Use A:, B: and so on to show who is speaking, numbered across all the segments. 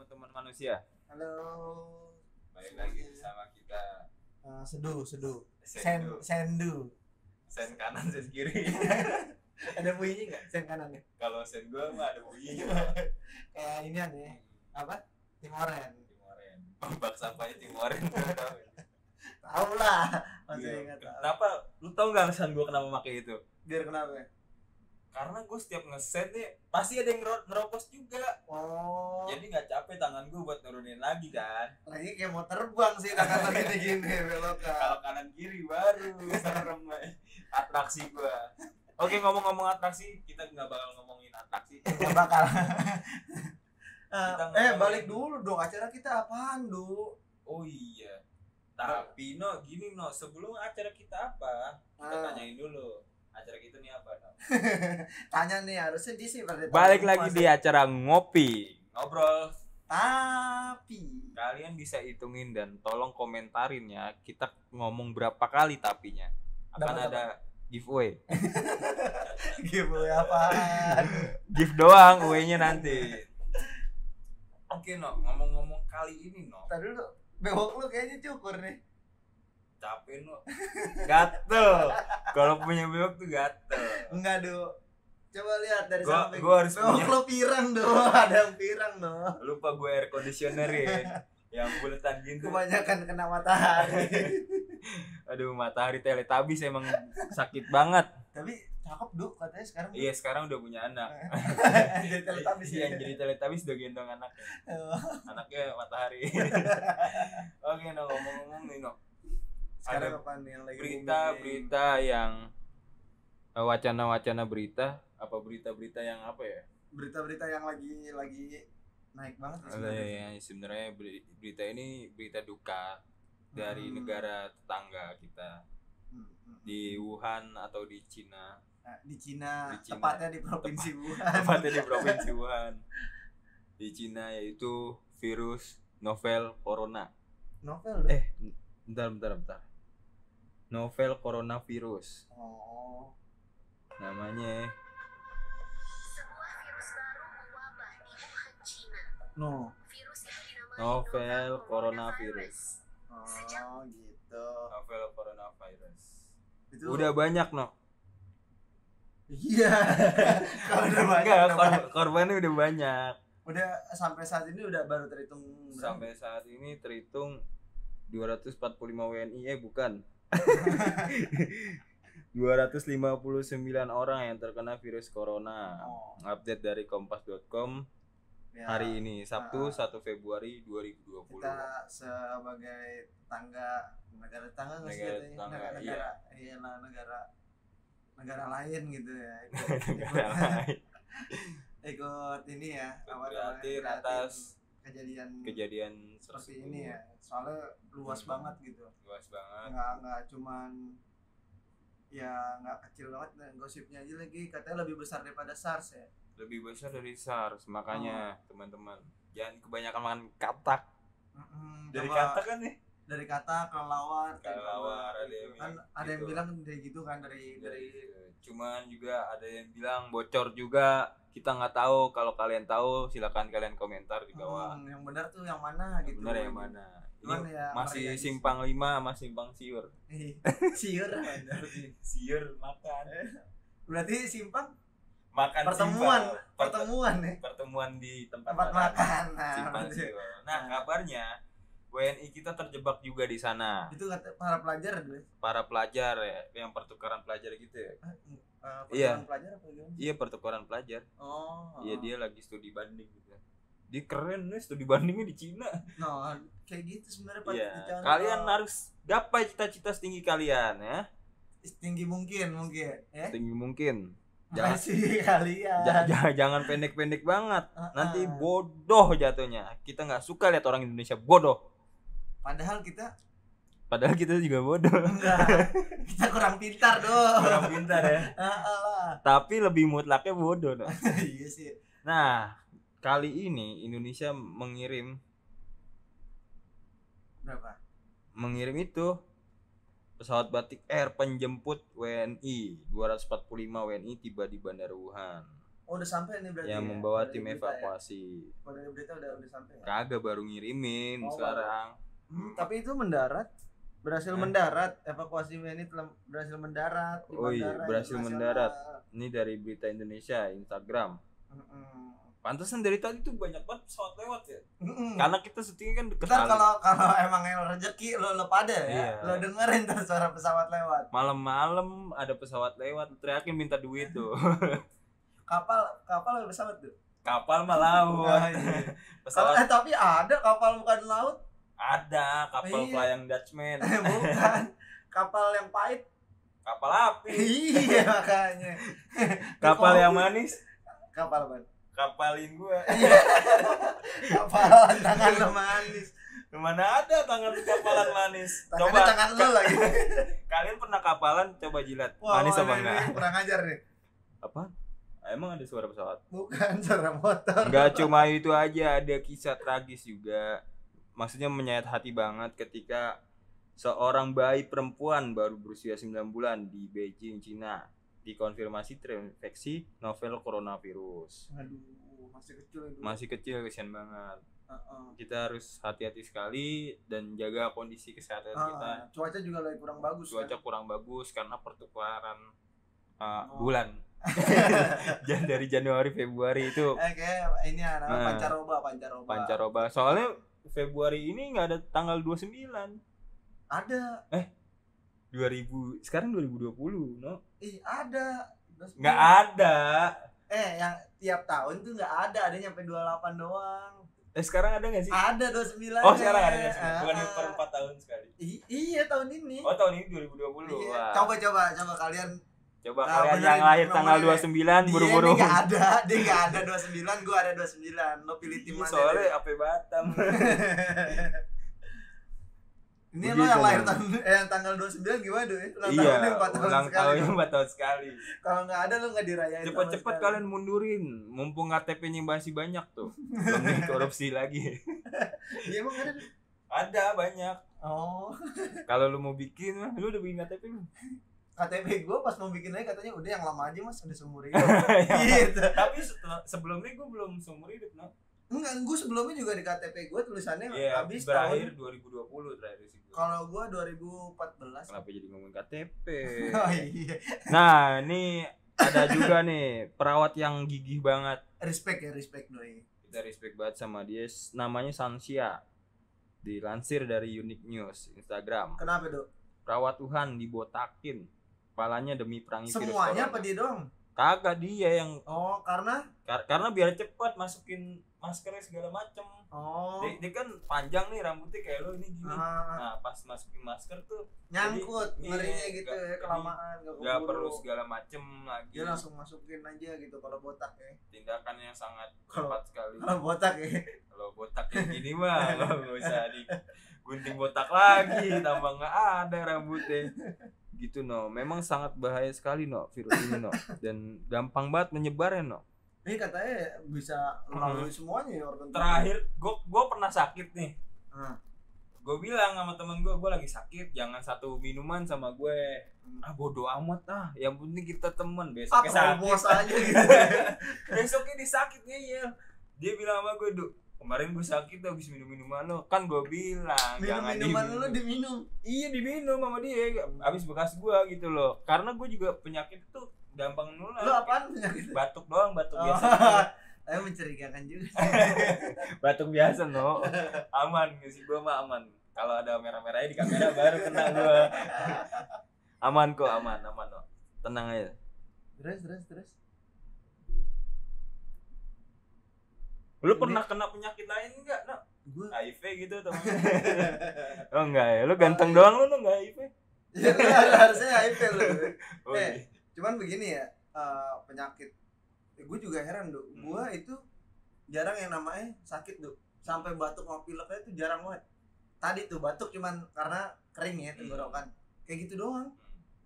A: Manusia.
B: Halo.
A: Baik lagi bersama kita
B: Eh, sedu, sedu. Sen,
A: Sendu.
B: sendu.
A: sen kanan, sen kiri.
B: Ada bunyinya nggak? Sen kanannya.
A: Kalau sen gua mah ada bunyinya.
B: Iya. Kayak ini ada ya. Apa? Timoren.
A: Timoren. Bak sampahnya Timoren.
B: Tahu lah.
A: Iya.
B: Masih ingat.
A: Kenapa? Lu tau gak alasan gua kenapa pakai itu?
B: Biar kenapa? ya?
A: Karena gua setiap ngeset nih pasti ada yang ngero- nerobos juga.
B: Oh.
A: Jadi nggak capek tangan gua buat nurunin lagi kan.
B: Lagi kayak mau terbang sih tangan gini gini belokan.
A: Kalau kanan kiri baru serem eh. atraksi gua. Oke ngomong-ngomong atraksi, kita nggak bakal ngomongin atraksi.
B: Gak bakal.
A: Kita
B: Ah, eh
A: ngomongin-
B: balik dulu dong acara kita apaan du?
A: Oh iya. Tapi no gini no sebelum acara kita apa? Kita
B: Ah.
A: tanyain dulu. Acara kita nih apa? No?
B: Tanya nih harusnya di sih pada
C: Balik
B: tahu
C: lagi
B: semua
C: di
B: sih.
C: acara ngopi.
A: Ngobrol.
B: Tapi
C: Kalian bisa hitungin dan tolong komentarin ya. Kita ngomong berapa kali tapinya. Akan
B: Dapat
C: ada giveaway.
B: giveaway apaan?
C: Gift doang away-nya nanti.
A: Oke no ngomong-ngomong kali ini no
B: Tadi dulu bewok lu kayaknya cukur nih.
A: capek no
C: Gatel. Kalau punya bewok tuh gatel.
B: Enggak do. Coba lihat dari
C: Gua-
B: samping.
C: gua harus
B: bewok
C: punya.
B: lu pirang do. Ada yang pirang do.
C: Lupa gue air conditioner ya. Yang buletan gitu.
B: Kebanyakan kena matahari.
C: Aduh, matahari teletabis emang sakit banget.
B: Tapi cakep do katanya sekarang.
C: Iya, sekarang udah punya anak.
B: Jadi teletabis
C: Iya,
B: ya.
C: jadi teletabis udah gendong anaknya. Anaknya matahari. Oke, no ngomong-ngomong nih no.
B: Sekarang
C: Ada
B: apaan nih yang lagi booming?
C: berita-berita yang eh, wacana-wacana berita apa berita-berita yang apa ya?
B: berita-berita yang lagi lagi naik banget ya
C: Ada
B: sebenarnya.
C: yang sebenarnya beri- berita ini berita duka dari
B: Hmm.
C: negara tetangga kita
B: Hmm, hmm.
C: di Wuhan atau di Cina,
B: Nah, di Cina,
C: Di Cina.
B: tepatnya di provinsi Wuhan.
C: tepatnya di provinsi Wuhan. Di Cina yaitu virus novel corona.
B: Novel dong.
C: Eh, bentar bentar bentar. Novel coronavirus.
B: Oh.
C: namanya
D: Sebuah virus baru mewabah di Wuhan, Cina.
B: No.
D: Virus itu dinamai
C: Novel
D: novel
C: coronavirus.
B: Oh, gitu.
C: novel coronavirus
B: Itu
C: udah banyak no
B: Iya. Kalau udah banyak.
C: Enggak,
B: udah
C: kor-
B: banyak.
C: korbannya udah banyak
B: Udah sampai saat ini udah baru terhitung berapa?
C: sampai saat ini terhitung 245 WNI eh bukan 259 orang yang terkena virus corona
B: Oh,
C: update dari kompas.com
B: ya.
C: hari ini Sabtu
B: Ah.
C: 1 Februari 2020
B: kita sebagai tangga negara tangga nggak sih
C: Negara
B: katanya?
C: tetangga,
B: negara,
C: iya.
B: negara iya lah negara negara lain gitu ya ikut,
C: Negara lain.
B: ikut, ikut ini ya apa namanya,
C: Berarti
B: prihatin
C: atas
B: kejadian
C: kejadian
B: seperti
C: tersebut.
B: ini ya soalnya luas
C: Hmm.
B: banget gitu
C: luas banget
B: nggak nggak cuman ya nggak kecil banget dan gosipnya aja lagi katanya lebih besar daripada SARS ya
C: lebih besar dari SARS makanya
B: Oh.
C: teman-teman jangan kebanyakan makan katak
B: Mm-mm,
C: dari
B: coba-
C: katak kan nih
B: dari kata kelelawar
C: Kelelawar,
B: kelelawar,
C: ada yang
B: kan
C: bilang
B: ada yang
C: gitu. Iya,
B: bilang dari gitu kan dari dari
C: dari cuman juga ada yang bilang bocor juga kita nggak tahu kalau kalian tahu silakan kalian komentar di bawah
B: Hmm, yang benar tuh yang mana
C: Yang
B: gitu
C: benar yang mana
B: Cuman
C: ini
B: ya,
C: masih
B: mereka-
C: simpang lima masih simpang siur
B: Ih, Iya, siur
A: siur makan
B: berarti simpang
C: makan
B: pertemuan
C: simpang. Pert-
B: pertemuan ya
C: pertemuan di tempat,
B: tempat
C: makan,
B: makan nah,
C: simpang
B: berarti-
C: siur nah kabarnya WNI kita terjebak juga di sana
B: itu kata para pelajar ya? Eh, dulu
C: para pelajar ya yang pertukaran pelajar gitu ya Iya.
B: iya. pelajar apa gimana
C: iya pertukaran pelajar
B: oh
C: Iya dia lagi studi banding gitu. Dia keren nih studi bandingnya di Cina.
B: no kayak gitu sebenarnya Pak.
C: Iya.
B: Jangan-
C: Kalian
B: oh,
C: harus gapai cita-cita setinggi kalian ya.
B: setinggi mungkin mungkin ya
C: Setinggi mungkin. Jangan
B: masih kalian
C: ja- ja- jangan pendek-pendek banget.
B: Ah,
C: Nanti
B: ah.
C: bodoh jatuhnya. Kita nggak suka lihat orang Indonesia bodoh.
B: padahal kita
C: Padahal kita juga bodoh.
B: enggak kita kurang pintar dong
C: Orang pintar ya.
B: ah, ah, lah.
C: Tapi lebih mutlaknya bodoh. no.
B: iya sih
C: Nah, kali ini Indonesia mengirim
B: berapa
C: mengirim itu pesawat Batik Air penjemput WNI 245 WNI tiba di Bandar Wuhan.
B: Oh udah sampai nih berarti.
C: yang
B: ya?
C: membawa
B: Udah
C: tim
B: ada berita ya?
C: evakuasi.
B: Udah ada berita udah udah sampai. ya?
C: Kagak baru ngirimin
B: Oh,
C: sekarang.
B: Hmm, tapi itu mendarat berhasil
C: Hah?
B: mendarat evakuasi ini telah berhasil mendarat di
C: Oh iya,
B: bandara
C: berhasil
B: internasional.
C: mendarat. Ini dari berita Indonesia, Instagram.
B: Mm-mm.
C: Pantesan dari tadi tuh banyak banget pesawat lewat ya.
B: Mm-mm.
C: Karena kita syutingnya kan deket
B: Hmm. Ntar
C: sana.
B: kalau kalau emang yang rezeki lo lo pada
C: Iya.
B: ya, lo dengerin tuh suara pesawat lewat.
C: Malam-malam ada pesawat lewat, teriakin minta duit tuh.
B: Kapal kapal apa pesawat tuh.
C: Kapal mah laut.
B: Kapal,
C: Pesawat
B: eh, tapi ada kapal bukan laut,
C: ada, kapal
B: Iya.
C: pelayang Dutchman,
B: Eh, bukan kapal yang pahit.
C: kapal api,
B: iya makanya.
C: kapal yang manis,
B: kapal ban.
C: kapalin gua.
B: Kapalan tangan lo manis.
C: Mana ada tangan kapalan manis?
B: Tangannya
C: Coba
B: tangan lo lagi.
C: kalian pernah kapalan coba jilat
B: Wah,
C: manis
B: wah,
C: apa
B: ini-
C: enggak?
B: ini Kurang ajar nih.
C: Apa? Emang ada suara pesawat?
B: Bukan suara motor.
C: Enggak cuma itu aja, ada kisah tragis juga. Maksudnya menyayat hati banget ketika seorang bayi perempuan baru berusia 9 bulan di Beijing, Cina dikonfirmasi terinfeksi novel coronavirus.
B: Aduh, masih kecil Ah, itu.
C: Masih kecil kesian banget.
B: Heeh.
C: Kita harus hati-hati sekali dan jaga kondisi kesehatan kita.
B: Ah, cuaca juga lagi kurang bagus kan?
C: Cuaca kurang bagus karena pertukaran uh,
B: Oh.
C: bulan. Jan- dari Januari Februari itu
B: Eh, kayak ini ya, namanya
C: Nah.
B: pancaroba, pancaroba.
C: pancaroba. Soalnya Februari ini nggak ada tanggal 29.
B: Ada,
C: 2000 sekarang 2020, no?
B: ih ada. Terus-
C: Nggak ada.
B: Eh, yang tiap tahun tuh nggak ada, ada nyampe 28 doang.
C: Eh sekarang ada nggak sih?
B: Ada 29.
C: oh, sekarang ada
B: Nek.
C: 29. Bukan
B: Ah,
C: per 4 tahun sekali.
B: i- iya tahun ini.
C: Oh, tahun ini 2020.
B: Iya.
C: Wah.
B: Coba coba coba kalian
C: Coba
B: Nah,
C: kalian
B: benerin,
C: yang lahir
B: benerin.
C: tanggal 29 buru-buru.
B: Iya, Dia nggak ada, dia nggak ada 29, gua ada 29. Lo pilih tim
C: Iya,
B: mana?
C: Soalnya apa Batam.
B: ini lo
C: Begitu,
B: yang lahir
C: Bang.
B: tahun eh, yang tanggal 29 gimana doi? Ulang
C: iya,
B: tahunnya empat tahun
C: ulang
B: sekali.
C: tahunnya 4 tahun sekali.
B: Kalau nggak ada lo nggak dirayain. sama
C: Cepet-cepet
B: sekali.
C: kalian mundurin, mumpung KTP-nya masih banyak tuh. Belum dikorupsi lagi.
B: Iya emang ada. Doi?
C: Ada banyak.
B: Oh,
C: Kalau lu mau bikin, mah, lu udah bikin KTP belum?
B: KTP gua pas mau bikin aja katanya udah yang lama aja mas udah seumur hidup.
C: Iya.
B: gitu.
C: Tapi setelah- sebelumnya gue belum seumur hidup, no?
B: Enggak, gua sebelumnya juga di KTP gua tulisannya
C: Iya,
B: habis
C: berakhir
B: tahun
C: 2020 terakhir sih. gua.
B: kalau gua 2014.
C: Kenapa jadi ngomong KTP?
B: Oh iya,
C: nah, ini ada juga nih perawat yang gigih banget.
B: respect ya respect doi.
C: Kita respect banget sama dia. S- Namanya Sansia. Dilansir dari Unique News Instagram.
B: Kenapa dok?
C: Perawat Tuhan dibotakin kepalanya demi perangi
B: Semuanya
C: virus corona.
B: apa dia doang?
C: Kagak dia yang
B: Oh karena
C: kar- karena biar cepat masukin maskernya segala macem.
B: Oh,
C: Dia, dia kan panjang nih rambutnya kayak lo ini gini.
B: ah,
C: Nah, pas masukin masker tuh
B: nyangkut
C: Jadi,
B: ngerinya
C: iya,
B: gitu
C: nggak-
B: ya
C: jadi
B: kelamaan nggak
C: nggak
B: keburu.
C: perlu iya. segala macem lagi
B: dia langsung masukin aja gitu kalau botak ya
C: tindakan yang sangat
B: Kalau-
C: cepat sekali
B: kalau botak ya
C: kalau botak kayak gini mah nggak usah digunting botak lagi tambah nggak ada rambutnya gitu no memang sangat bahaya sekali no virus ini no dan gampang banget menyebarnya no
B: ini katanya bisa melalui semuanya ya organ
C: Hmm.
B: tubuh.
C: terakhir gue gue pernah sakit nih
B: Hmm.
C: gue bilang sama temen gue gue lagi sakit jangan satu minuman sama gue
B: Hmm.
C: ah bodo amat ah yang penting kita temen
B: ah
C: besoknya sakit
B: terobos aja gitu
C: besoknya dia sakit ngeyel dia bilang sama gue duk kemarin gue sakit tuh habis minum minuman lo kan gue bilang
B: minum
C: jangan
B: minuman
C: diminum."
B: lu diminum
C: iya diminum sama dia habis bekas gue gitu loh karena gue juga penyakit itu gampang nular
B: lu apaan penyakit
C: batuk doang batuk
B: oh,
C: biasa
B: tapi mencurigakan juga
C: batuk biasa no aman gak sih gue mah aman kalau ada merah-merahnya di kamera baru kena gue aman kok aman aman no tenang aja
B: terus terus terus
C: lu pernah kena penyakit lain enggak no
B: gue
C: HIV gitu temen oh enggak ya lu ganteng doang lu no enggak HIV
B: ya, lu harusnya HIV lu
C: oh,
B: Eh,
C: iya.
B: cuman begini ya eh, penyakit gue juga heran dok
C: Hmm.
B: gue itu jarang yang namanya sakit dok sampai batuk mau pileknya itu jarang banget tadi tuh batuk cuman karena kering
C: Hmm.
B: ya tenggorokan kayak gitu doang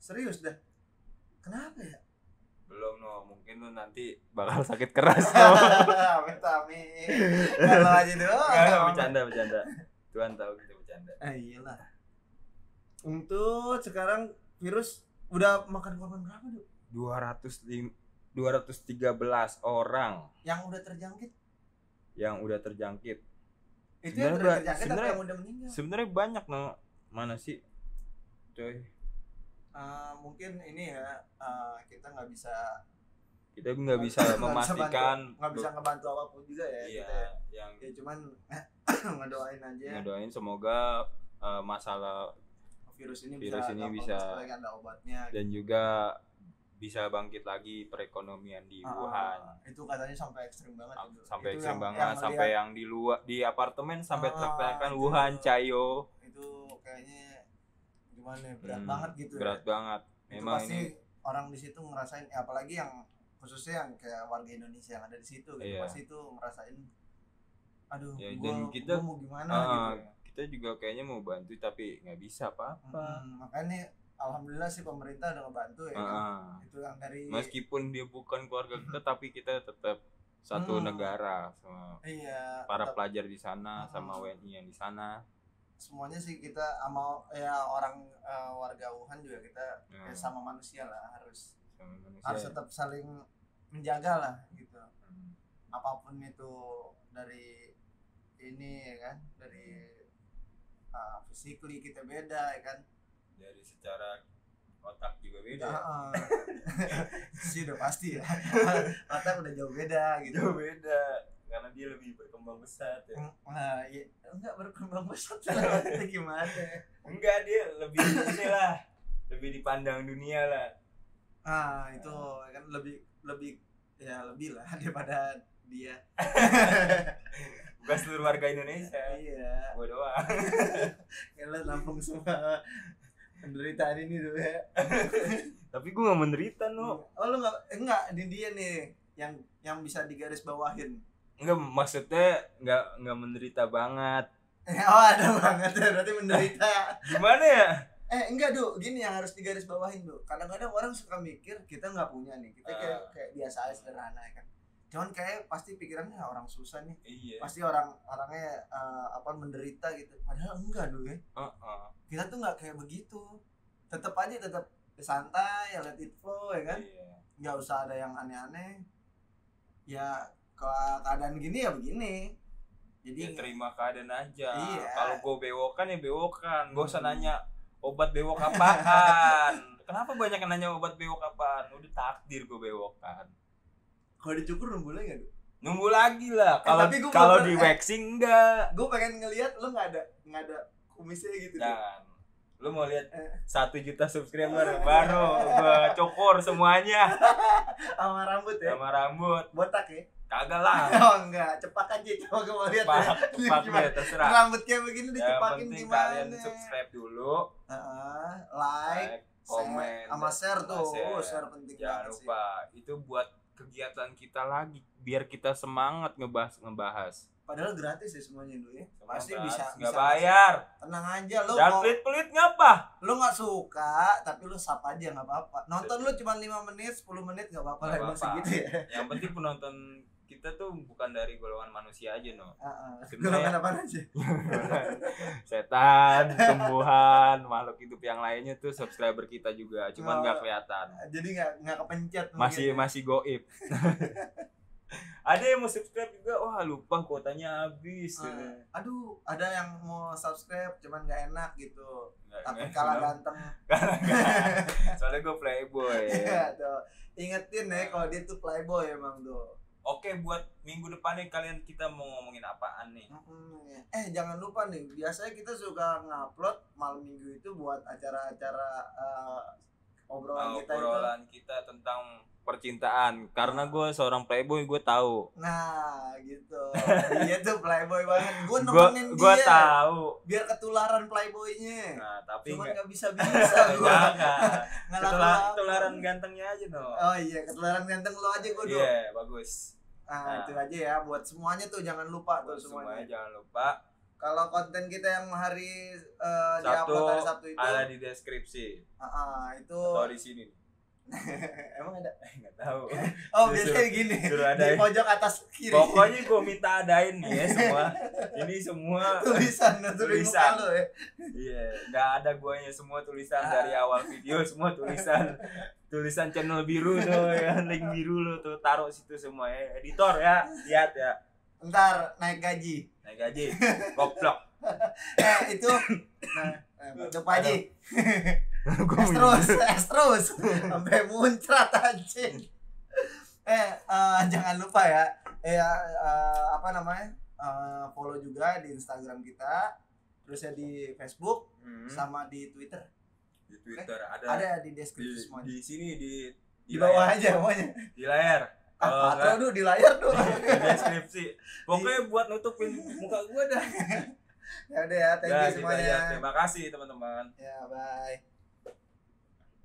B: serius dah kenapa ya
C: belum no mungkin lu nanti bakal sakit keras no
B: amin amin kalau aja
C: Enggak, enggak,
B: doang
C: Oh. bercanda bercanda Tuhan tahu kita bercanda
B: ah, iyalah untuk sekarang virus udah makan korban berapa dok
C: 200 lim- 213 orang
B: yang udah terjangkit
C: yang udah terjangkit.
B: itu
C: Sebenarnya gua-
B: yang udah terjangkit atau
C: sebenarnya-
B: yang udah meninggal
C: Sebenarnya banyak no mana sih? Coy,
B: Eh, mungkin ini ya eh, kita nggak bisa
C: kita nggak bisa
B: nggak bantu-
C: memastikan
B: nggak bisa ngebantu apapun juga ya
C: Iya,
B: kita ya.
C: yang
B: ya cuman ngedoain aja
C: ngedoain semoga eh, masalah
B: virus ini
C: Virus
B: bisa
C: ini
B: gampang
C: bisa-
B: sekali ada obatnya
C: dan juga bisa bangkit lagi perekonomian di
B: Ah,
C: Wuhan.
B: itu katanya sampai ekstrim banget
C: Sam-
B: itu.
C: sampai
B: Itu
C: ekstrem
B: yang-
C: banget
B: yang
C: sampai
B: lihat
C: yang di luar di apartemen sampai
B: Ah,
C: teriak-teriakan
B: itu.
C: Wuhan Cayo
B: itu kayaknya gimana ya, berat
C: Hmm,
B: banget gitu ya.
C: berat banget
B: Itu
C: memang
B: pasti
C: ini
B: orang di situ ngerasain ya apalagi yang khususnya yang kayak warga Indonesia yang ada di situ gitu
C: Iya.
B: pasti itu ngerasain aduh
C: Ya,
B: gua,
C: dan kita-
B: gua mau gimana
C: Ah,
B: gitu ya.
C: kita juga kayaknya mau bantu tapi nggak bisa apa-apa
B: Mm-mm, Hmm, makanya alhamdulillah sih pemerintah udah ngebantu ya kan.
C: Ah,
B: itu yang dari
C: meskipun dia bukan keluarga kita tapi kita tetap satu
B: Hmm.
C: negara sama
B: iya
C: para
B: tetap-
C: pelajar di sana sama
B: Hmm.
C: WNI yang di sana
B: semuanya sih kita sama ya orang eh, warga Wuhan juga kita
C: Nah,
B: ya sama manusia lah harus
C: sama manusia.
B: harus tetap saling menjaga lah gitu
C: Hmm.
B: apapun itu dari ini ya kan dari uh, physically kita beda ya kan
C: dari secara otak juga beda ya.
B: Heeh. sih udah pasti ya otak udah jauh beda gitu
A: Jauh beda karena dia lebih berkembang besar
C: Hmm.
A: ya.
B: Nah, ya, enggak berkembang pesat lah itu gimana
A: Enggak dia lebih inilah lebih dipandang dunia lah.
B: ah itu kan lebih lebih ya lebih lah daripada dia
A: Bukan seluruh warga Indonesia.
B: iya
A: Gua doang.
B: Kalian nampung semua penderitaan ini dulu ya.
C: tapi gue nggak menderita no
B: Oh lu nggak enggak ini dia nih yang yang bisa digaris bawahin.
C: nggak maksudnya nggak nggak menderita banget
B: oh ada banget ya berarti menderita.
C: gimana ya
B: eh enggak du, gini yang harus digaris bawahin du. Kadang-kadang orang suka mikir kita nggak punya nih, kita kayak kayak biasa aja sederhana ya kan. Cuman kayak pasti pikirannya "Ah, orang susah nih,
A: Iya.
B: pasti orang orangnya eh, apa menderita gitu. Padahal enggak du ya.
A: Iya.
C: Heeh.
B: Kita tuh nggak kayak begitu. Tetap aja tetap santai, ya let it flow ya kan.
C: iya
B: nggak usah ada yang aneh-aneh ya ke- keadaan gini ya begini
C: ya
B: jadi
C: terima keadaan aja
B: Iya.
C: kalau gue bewokan ya bewokan gak usah
B: Hmm.
C: nanya obat bewok apaan kenapa banyak yang nanya obat bewok apaan udah takdir gue bewokan
B: kalau dicukur boleh nggak tuh
C: nunggu lagi lah
B: Eh,
C: kalau
B: tapi gua
C: kalau
B: belum
C: di
B: pernah-
C: waxing enggak
B: gue pengen ngelihat lo nggak ada nggak ada kumisnya gitu Du.
C: dan lu mau lihat
B: Eh.
C: satu juta subscriber baru gue cukur semuanya
B: sama rambut ya
C: sama rambut
B: botak ya
C: kagak lah
B: oh enggak cepak aja coba gue mau lihat
C: cepat
B: ya.
C: cepat
B: Gimana?
C: deh terserah
B: rambut kayak begini
C: yang
B: dicepakin
C: penting
B: gimana
C: kalian subscribe dulu
B: Heeh, like
C: like komen
B: share, sama share tuh
C: share.
B: Oh, share penting
C: jangan
B: banget
C: lupa itu buat kegiatan kita lagi biar kita semangat ngebahas ngebahas
B: sih padahal gratis ya semuanya dulu ya pasti
C: Ngebahas,
B: bisa
C: nggak
B: bisa-
C: bayar
B: tenang aja lo
C: jangan
B: mau-
C: pelit pelit ngapa
B: lu nggak suka tapi lu sap aja nggak apa-apa nonton lu cuma 5 menit 10 menit nggak apa-apa lah
C: Nggak
B: emang
C: apa-apa.
B: segitu ya
C: yang penting penonton kita tuh bukan dari golongan manusia aja no
B: Heeh.
C: Sebenarnya-
B: golongan apa aja
C: setan tumbuhan makhluk hidup yang lainnya tuh subscriber kita juga cuman nggak
B: Oh.
C: kelihatan
B: jadi nggak nggak kepencet
C: masih
B: mungkin. ya.
C: masih goib ada yang mau subscribe juga wah lupa kuotanya habis
B: Heeh. aduh ada yang mau subscribe cuman nggak enak gitu
C: Nggak-
B: takut
C: nggak-
B: kalah ganteng
C: soalnya gue playboy
B: Iya, tuh. ingetin ya kalau dia tuh playboy emang tuh
C: Oke buat minggu depannya kalian kita mau ngomongin apaan nih?
B: Mm-mm. eh jangan lupa nih biasanya kita suka ngupload malam minggu itu buat acara-acara eh, obrolan kita itu
C: Ah, Obrolan kita tentang percintaan. Karena gue seorang playboy gue tahu.
B: Nah, gitu. dia tuh playboy banget.
C: Gue
B: Gue nemenin
C: gue
B: dia
C: tahu.
B: biar ketularan playboynya.
C: Nah tapi
B: Cuman
C: nggak
B: nggak bisa bisa gua.
C: jangan.
B: Nggak
C: Ketula-
B: laku.
C: Ketularan gantengnya aja dong.
B: Oh iya, ketularan ganteng lo aja gue
C: Iya
B: dong.
C: bagus.
B: Nah, itu aja ya buat semuanya tuh jangan lupa
C: Buat
B: tuh
C: semuanya
B: semuanya.
C: jangan lupa
B: Kalau konten kita yang hari eh,
C: Sabtu,
B: di-upload hari Sabtu itu,
C: ada di deskripsi
B: ah, ah, itu
C: atau di sini.
B: Emang ada?
C: nggak tahu
B: Oh,
C: Suruh-
B: biasanya gini.
C: suruh
B: Di
C: adain.
B: pojok atas kiri.
C: pokoknya gue minta adain nih ya semua ini semua
B: tulisan
C: Tulisan.
B: tulisan lo ya.
C: iya nggak ada guanya semua tulisan dari awal video semua tulisan tulisan channel biru tuh ya link biru lo tuh taruh situ semua ya editor ya lihat ya
B: Ntar naik gaji.
C: naik gaji goblok
B: Eh, itu nah, eh, Pak Haji.
C: gue
B: Es terus, es terus. Sampai muncrat anjing. Eh, eh, jangan lupa ya. Eh, eh, apa namanya? Eh, follow juga di Instagram kita. Terusnya di Facebook sama di Twitter.
C: Hmm, di Twitter ada,
B: Ada
C: di,
B: di deskripsi semua. Di,
C: di sini di layar.
B: bawah
C: Oh,
B: aja pokoknya.
C: di layar kalau
B: Ah,
C: nggak
B: Patro dulu di layar tuh.
C: di deskripsi pokoknya buat nutupin muka gue dah
B: ya udah ya, thank
C: Dah,
B: you
C: gitu
B: semuanya.
C: aja. terima kasih teman-teman
B: Ya, bye.